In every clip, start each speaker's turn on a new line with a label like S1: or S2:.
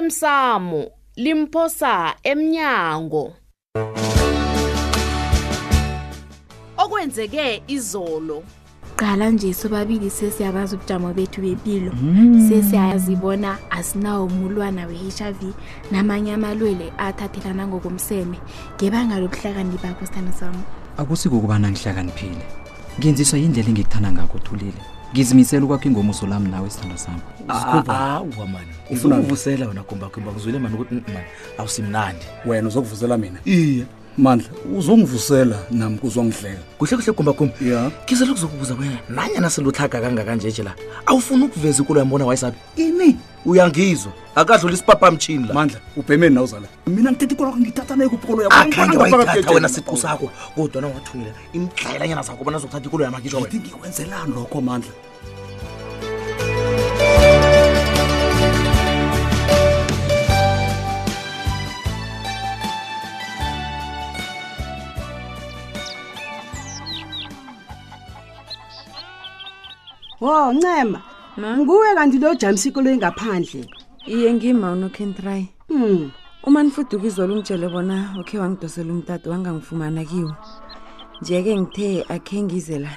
S1: osemsamo limphosa emnyango okwenzeke izolo
S2: qala nje sobabili sesiyabazi ubujamo bethu bempilo sesiyazibona asinawo umulwana we-hiv namanye amalwele athathelana ngokomseme ngebanga lobuhlakani bakho sithanda sami
S3: akusiko ukubana ngihlakaniphile ngenziswa yindlela engikuthanda ngakho uthulile ngizimisela ukwakho ingomuso lami nawe isithando sami
S4: Ah,
S5: awa mani ufuna ukuvusela wena gumbakumba kuzwile mani ukuthi mm, mani awusimnandi
S4: wena uzokuvusela mina
S5: iye
S4: mandla uzongivusela nami kuzongihleka
S5: kuhle kuhle gumbakumba
S4: ya
S5: kize lokuzokubuza wena nanyana selutlhaga kangakanje la awufuni ukuveza ikulo yambona wayisaphi
S4: ini
S5: uyangizwa akadlula isipapamtshini la
S4: mandla ubhemeni nawe uzala mina ngithetha ikolo ngithatha nayo kupolo
S5: akhange wayithatha wena siqu sakho kodwana wathungela imdlayelanyana zakho bona zokuthatha ikulo yamakitshwa wena
S4: ngikwenzelani lokho mandla
S6: wo ncema nguwe kanti lojamisa ikoloyi ngaphandle
S7: iye ngima unokhentry Hmm.
S6: um
S7: uma nifuduka izolo ungitshele bona okhe wangidosela umtata wangangifumana kiwo nje-ke ngithe akhe ngize la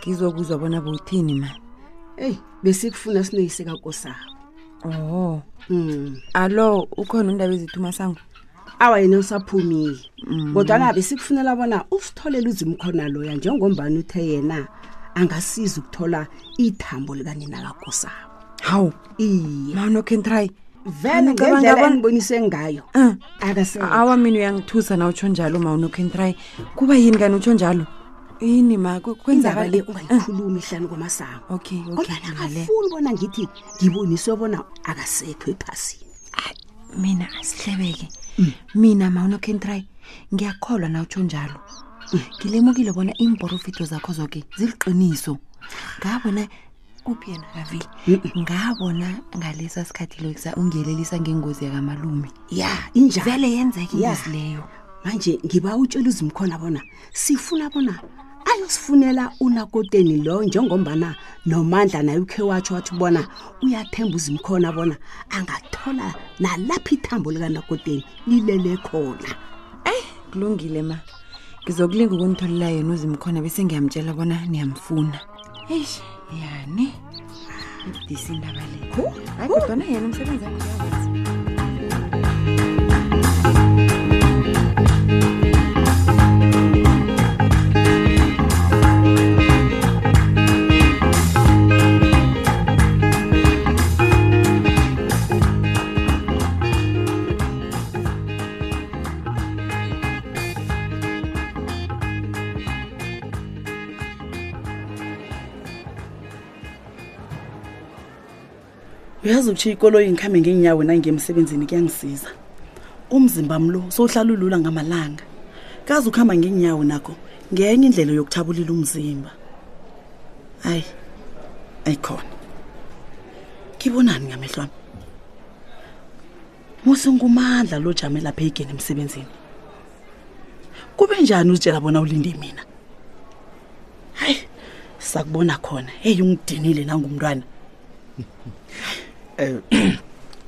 S7: ngizokuzwa bona bowuthini ma
S6: eyi besikufuna sinoyise kakosabo
S7: oho
S6: um
S7: alo ukhona undaba ezithu masango
S6: awa yena usaphumile
S7: Mm.
S6: kodwana besikufunela bona usitholele uzimkhona loya njengombani uthe yena angasiza ukuthola ithambo likanina kakosabo
S7: hawu
S6: iye
S7: ma unokhentry
S6: vele
S7: Ngicabanga
S6: ngendlela
S7: bona-
S6: enibonise ngayo
S7: um
S6: akase
S7: awa mina uyangithusa na utsho njalo ma unokhentry kuba yini kani utsho njalo yini ma Ku-
S6: indaba
S7: kwenzakale
S6: le ungayikhulumi hlani kwamasango
S7: okay okay
S6: kodwana
S7: ngale
S6: akafuni bona ngithi ngiboniswe bona akasekho ephasini
S7: mina asihlebeke mina mawunokhentry ngiyakholwa na utsho njalo Mm. ngilemukile bona iimporofito zakho zoke ziliqiniso ngabona kuphi yena kavile ngabona ngalesa sikhathi lokusa ungelelisa ngengozi yakamalume
S6: ya injalo
S7: vele yenzeka
S6: Ya.
S7: ingozi leyo
S6: manje ngiba utshela uzimkhona bona sifuna bona ayosifunela unakoteni lo njengombana nomandla naye ukhe watsho wathi bona uyathemba uzimkhona bona angathola nalapha ithambo likanakoteni lilele khona
S7: kulungile ma ngizokulinga ukunitholela yena uzimkhona bese ngiyamtshela bona niyamfuna eish yani ibudisi indaba le hayi kodwana yena umsebenzi wakhe uyawenza.
S8: uyazi ukutshiya ikoloyi ngikhambe ngeenyawo na ngiye emsebenzini kuyangisiza umzimba wami lo sowuhlala ulula ngamalanga kazi ukuhamba ngeenyawo nakho ngenye indlela yokuthabulula umzimba hayi ayikhona ngibonani ngamehlo ami musingumandla lo jame lapha egeni emsebenzini kube njani uzitshela bona ulinde mina hayi sakubona khona heyi ungidinile nangumntwana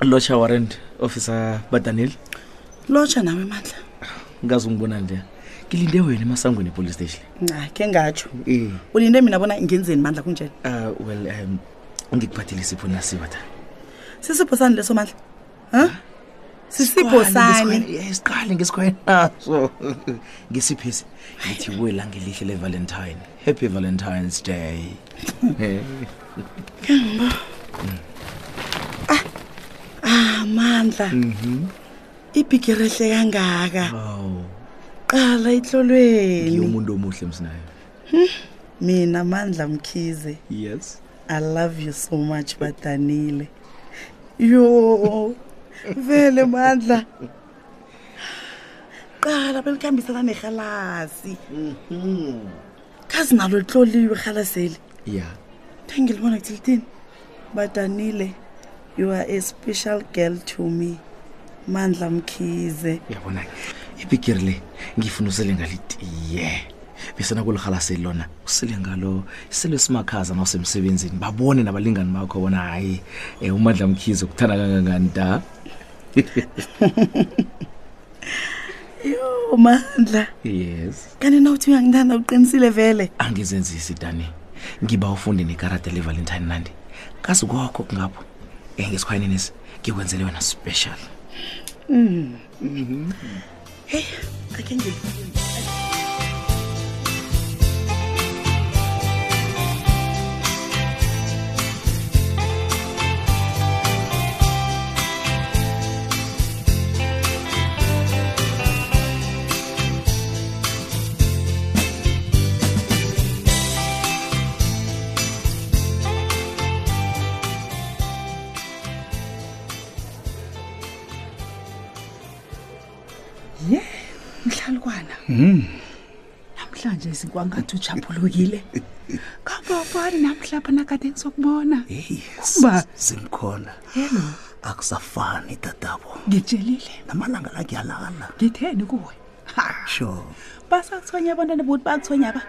S5: locha warrant officer badanile
S8: lotsha nawe mandla
S5: ngazi ungibona nje ngilinde wena emasangweni epolice station
S8: nca khe ngatsho
S5: Eh.
S8: ulinde mina bona ngenzeni mandla kunjani
S5: uh, well um, ngikuphathele isipho nasiwa ta
S8: sisipho sani leso mandla ha sisipho sani
S5: siqale ngesikhwenaso ngesiphisi ngithi kuwela ngelihle le-valentine happy valentines day
S8: Ah, amandla ibhigiri ehle kangaka
S5: aw
S8: qala itlolweni
S5: ngiyomuntu Oh, omuhle msinayo
S8: mina mandla mkhize
S5: yes
S8: i love you so much badanile yo vele mandla qala belikhambisana nerhalasi khazi nalo litloliwe irhalaseli
S5: ya
S8: thengilibona kuthi lithini badanile you are a special girl to me mandla mkhize
S5: uyabona ibhigiri le ngifuna usele ngalitiye besena kulihalaseli lona usele ngalo sele simakhaza na usemsebenzini babone nabalingani bakho bona hayi um umandla mkhize kuthanda kangangani da
S8: yho Oh, mandla
S5: yes
S8: kanti nawuthi uyangithanda uqinisile vele
S5: angizenzisi dani ngiba ufunde nekarada levalentine nandi kazi kokho kungapho um ngesikhwanyenesi ngikwenzele wena special
S8: akhe nge ye mhlalukwana namhlanje sikwangathi ujaphulukile kangobani namhlapha nakade ngizokubona Kumba.
S4: zimkhona
S8: hello
S4: akusafani tatabo
S8: ngitshelile
S4: namalanga la kuyalala
S8: ngitheni kuwe Ha,
S4: sure
S8: basathonya abantwana bokuthi bathonya ba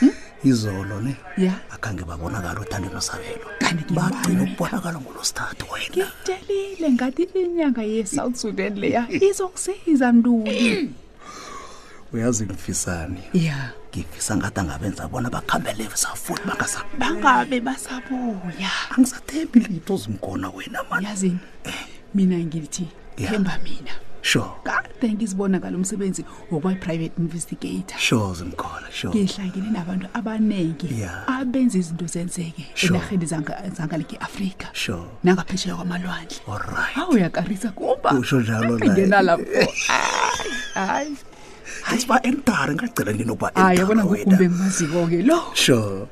S4: Hm? izolo ne
S8: ya
S4: akhange babonakala othandweni osabelo
S8: Kanti ngibani?
S4: bagcina ukubonakala ngolosithathu wena
S8: ngitshelile ngathi inyanga ye-south sudan leya izokusiza
S9: Eh,
S8: ntuli
S4: uyazi ngifisani
S8: ya
S4: ngifisa ngathi angabenza bona bakhambele safuthi bangasabi
S9: eh,
S8: bangabe basabuya
S4: angisathembi litho zimkhona wena mani
S8: yazini mina ngithi
S4: Ya.
S8: themba mina
S4: sure
S8: kade ngizibona ngalo msebenzi wokwa-private investigator
S4: sure zimkhona sure
S8: ngihlangene nabantu abaningi
S4: Ya.
S8: abenza izinto zenzeke
S4: Sure.
S8: Ah, enarheni zanga- zangaleki afrika
S4: sure
S8: nangaphesheya kwamalwandle
S4: alright
S8: awuyakarisa kuba
S4: usho njalo
S8: ngena lapho
S4: asiba entare ngagcina nini ukuba
S8: hayi
S4: entare
S8: yabona
S4: wena.
S8: ngukumbe ngimaziko-ke lo Mm.
S4: sure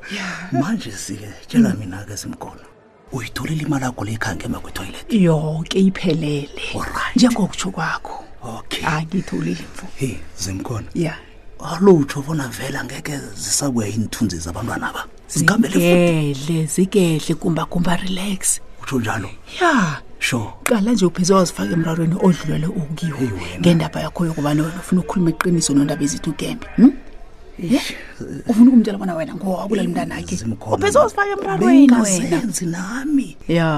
S4: manje sike tshela mina-ke zimkhona uyitholile imali yakho leyikhange ema kwitoilet
S8: yonke iphelele
S4: Alright.
S8: njengokutsho kwakho
S4: okay
S8: angiyitholile mfo
S4: hey zimkhona
S8: ya
S4: alo utsho bona vele angeke zisabuya inithunzi zabantwana ba zikhambele futhi
S8: zigedle zigedle kumbakumba relax
S4: utsho njalo
S8: ya
S4: sure
S8: qala nje upheze wazifaka emrarweni odlulele ukiwo ngendaba yakho yokuba no- ufuna ukukhuluma iqiniso nondaba ezithi ugembe um ye ufuna ukumtshela bona wena ngowabulala umntanakhe
S4: Zimkhona.
S8: upheze wazifaka emrarweni wena
S4: bengazenzi nami
S8: ya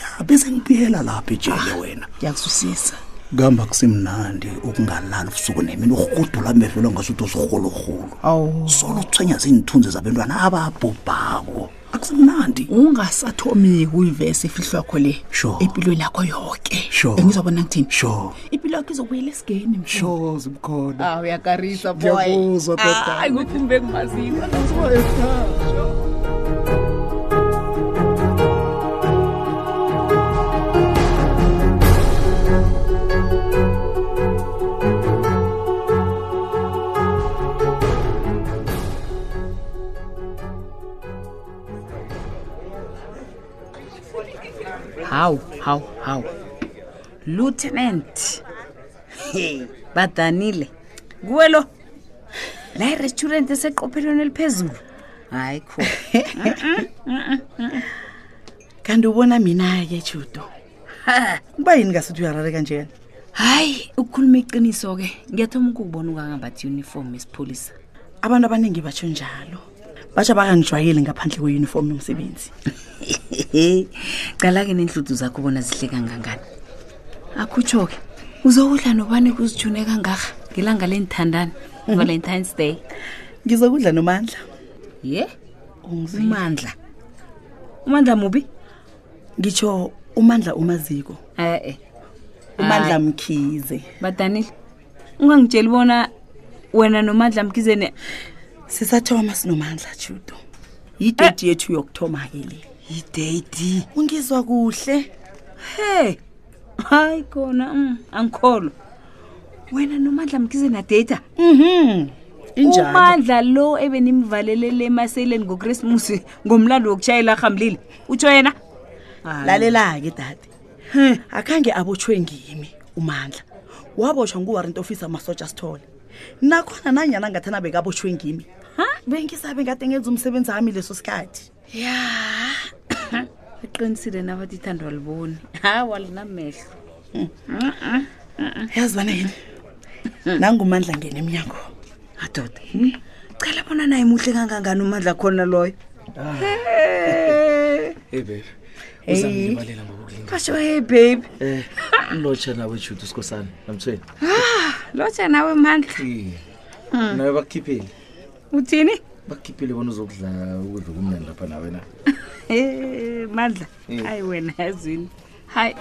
S4: ya bezengibuyela lapha ejele wena
S8: ngiyakuzwisisa
S4: kuhamba kusemnandi ukungalali ubusuku nemini urhudula amehlo ngasuthi usirholorholo
S8: awu
S4: solo uthwenya ziinthunzi zabentwana ababhubhako akusemnandi
S8: ungasathomiki uyivesi efihlwa kho le
S4: Sure.
S8: empilweni yakho yoke
S4: Sure.
S8: engizobona ngithini
S4: sure
S8: impilo yakho izobuyela esigeni mfo.
S4: sure zimkhona
S8: Ah, uyakarisa
S4: Ngiyakuzwa,
S1: Ah,
S4: tata.
S8: boy. Hayi, ukuthi ngibe ngimaziwa
S1: tá?
S9: hawu hawu hawu lieutenant Hey, badanile kuwe lo la irestaurant eseqophelweni eliphezulu hayi kho
S8: kanti ubona mina-ke judo
S9: Ha,
S8: kuba yini ngasuthi uyarareka njena
S9: hayi ukukhuluma iqiniso-ke ngiyathoma ukukubona ungangambathi uniform esipholisa
S8: abantu abaningi batsho njalo batsha bakangijwayeli ngaphandle kweyunifomu yomsebenzi
S9: cala-ke nenhluthu zakho bona zihle kangangani akhutsho-ke uzokudla nobani kuzijune kangaka ngelanga lenthandana valentines day
S8: ngizokudla nomandla
S9: ye umandla umandla mubi
S8: ngitsho umandla umaziko
S9: e-e
S8: umandla mkhize
S9: badanile ungangitsheli bona wena nomandla mkhizene
S8: sisathoma sinomandla judo
S9: Eh.
S8: yideti yethu yokuthoma-ke le
S9: yideyidi
S8: ungizwa kuhle
S9: he hayi khona mm, angikholo wena nomandla mkhizene adeyida
S8: Mhm.
S9: umandla lo ebenimvalelele emaseleni ngokrismusi ngomlando wokutshayela ahambulile utsho yena
S8: lalela-ke dade
S7: Hmm.
S8: akhange abotshwe ngimi umandla wabotshwa nguwarrant officer masotsha sithole nakhona nanyana ngathana bekabotshwe ngimi bengisabe ngade ngenza umsebenzi wami leso sikhathi
S9: ya baqinisile nabathi ithando aliboni hawa linamehlo
S8: Hmm. yazi bana yini nangumandla ngena emnyango
S9: adoda
S7: qala bona naye muhle kangangani umandla khona loyo
S5: hey babe
S7: Hey.
S5: uzangilibalela ngokukulinga
S7: basho hey babe
S5: um umlotsha nawe jude usikhosana namthweni
S7: lotsha nawe mandla
S5: iye nawe bakukhiphile
S7: uthini
S5: bakukhiphile bona uzokudla ukudla kumnani lapha nawe na
S7: Eh, mandla
S5: Mm.
S7: hayi wena yazini hayi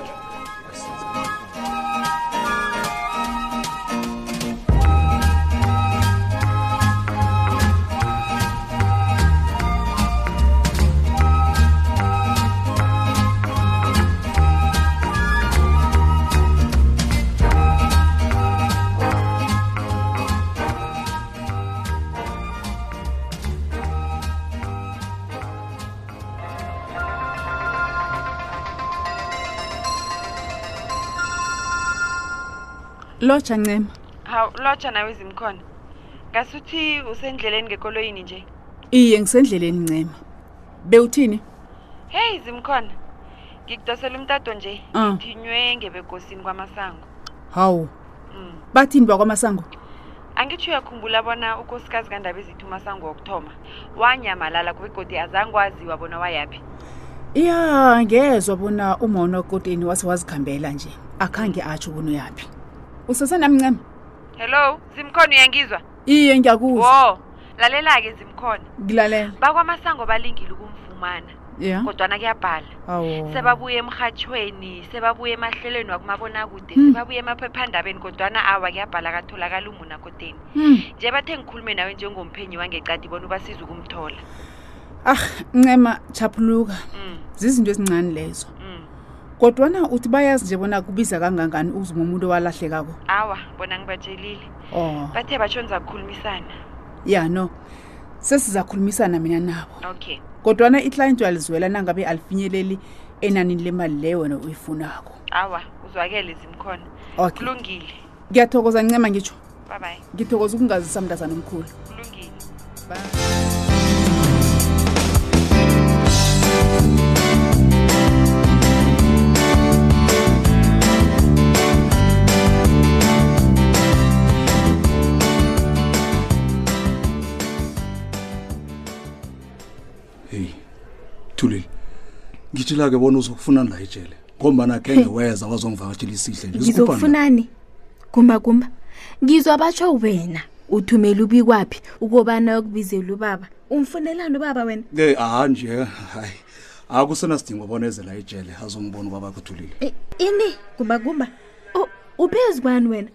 S10: lotsha ncema
S11: hawu lotsha nawe zimkhona ngasuthi usendleleni ngekoloyini nje
S10: iye ngisendleleni ncema bewuthini
S11: heyi zimkhona ngikudosela umtato nje
S10: Ah.
S11: ngithinywe ngebegosini kwamasango
S10: hawu
S11: mm.
S10: bathini bakwamasango
S11: angitsho uyakhumbula bona ukosikazi kandaba ezithu umasango wokuthoma wanyamalala kubegodi azange waziwa bona wayaphi
S10: ya ngezwa bona umona wakoteni wase wazikhambela nje akhange atsho bona uyaphi usesenami ncema
S11: hello zimkhona uyangizwa
S10: iye ngiyakuzwa
S11: wo lalela-ke zimkhona
S10: ngilalela
S11: bakwamasango balingile ukumfumana
S10: ya
S11: kodwana kuyabhala
S10: awu
S11: sebabuye emrhatshweni sebabuye emahlelweni wakumabonakude
S10: Hmm.
S11: sebabuye emaphephandabeni kodwana awa kuyabhala katholakala umuna kodeni
S10: Hmm.
S11: nje bathe ngikhulume nawe njengomphenyi wangecadi bona ubasiza ukumthola
S10: ah ncema chaphuluka
S11: Mm,
S10: zizinto ezincane lezo
S11: mm.
S10: kodwana uthi bayazi nje bona kubiza kangangani uzuma umuntu owalahlekako
S11: awa bona ngibatshelile
S10: oh
S11: bathe batshonza kukhulumisana
S10: ya no sesizakhulumisana mina nabo
S11: okay
S10: kodwana iclient uyalizwela nangabe alifinyeleli enanini lemali leyo wena uyifunako
S11: awa uzwakele zimkhona
S10: okay
S11: kulungile
S10: ngiyathokoza ncema ngitsho
S11: bye bye
S10: ngithokoza ukungazisa mntazana omkhulu
S11: kulungile
S4: heyi thulile ngitshela-ke bona uzokufuna la ejele ngombana khenge weza wazongivakatshela isihle nje Sikupha na?
S2: ngizokufunani gumbagumba ngizwa batsho wena uthumela ubikwaphi ukobana ukubizela ubaba umfunelani ubaba wena
S4: Eh, aha nje hayi akusenasidingo bona eze la ejele azongibona ubabakho thulile
S2: I- Eh, ini gumbagumba U- ubezi kwani wena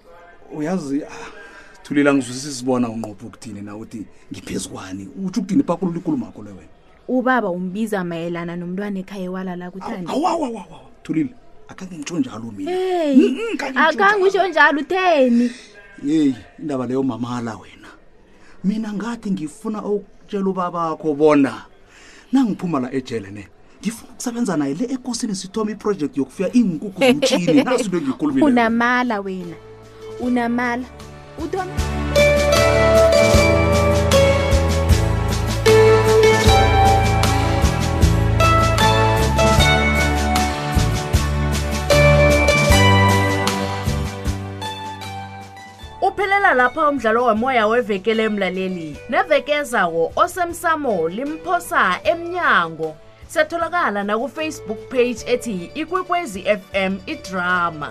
S4: uyazi ah, thulile angizwisisi bona unqopha ukuthini na uthi ngiphezu kwani utsho ukuthini pakulula ikulumakho le wena
S2: ubaba umbiza mayelana nomntwana ekhaya ewalala kuthandi
S4: awawawawa thulile akange ngitsho njalo mina Mm,
S2: heyi akangutsho njalo utheni
S4: yeyi indaba leyo mamala wena mina ngathi ngifuna ukutshela ubabakho bona nangiphuma la ejele ne ngifuna ukusebenza naye le ekosini sithoma iprojekthi yokufuya iinkukhu zomtshini naso into engiyikhulumile
S2: unamala wena unamala uthoma
S1: uphelela lapha umdlalo womoya wevekele emlaleli neveke ezawo osemsamo limphosa emnyango setholakala nakufacebook page ethi ikwekwezi fm idrama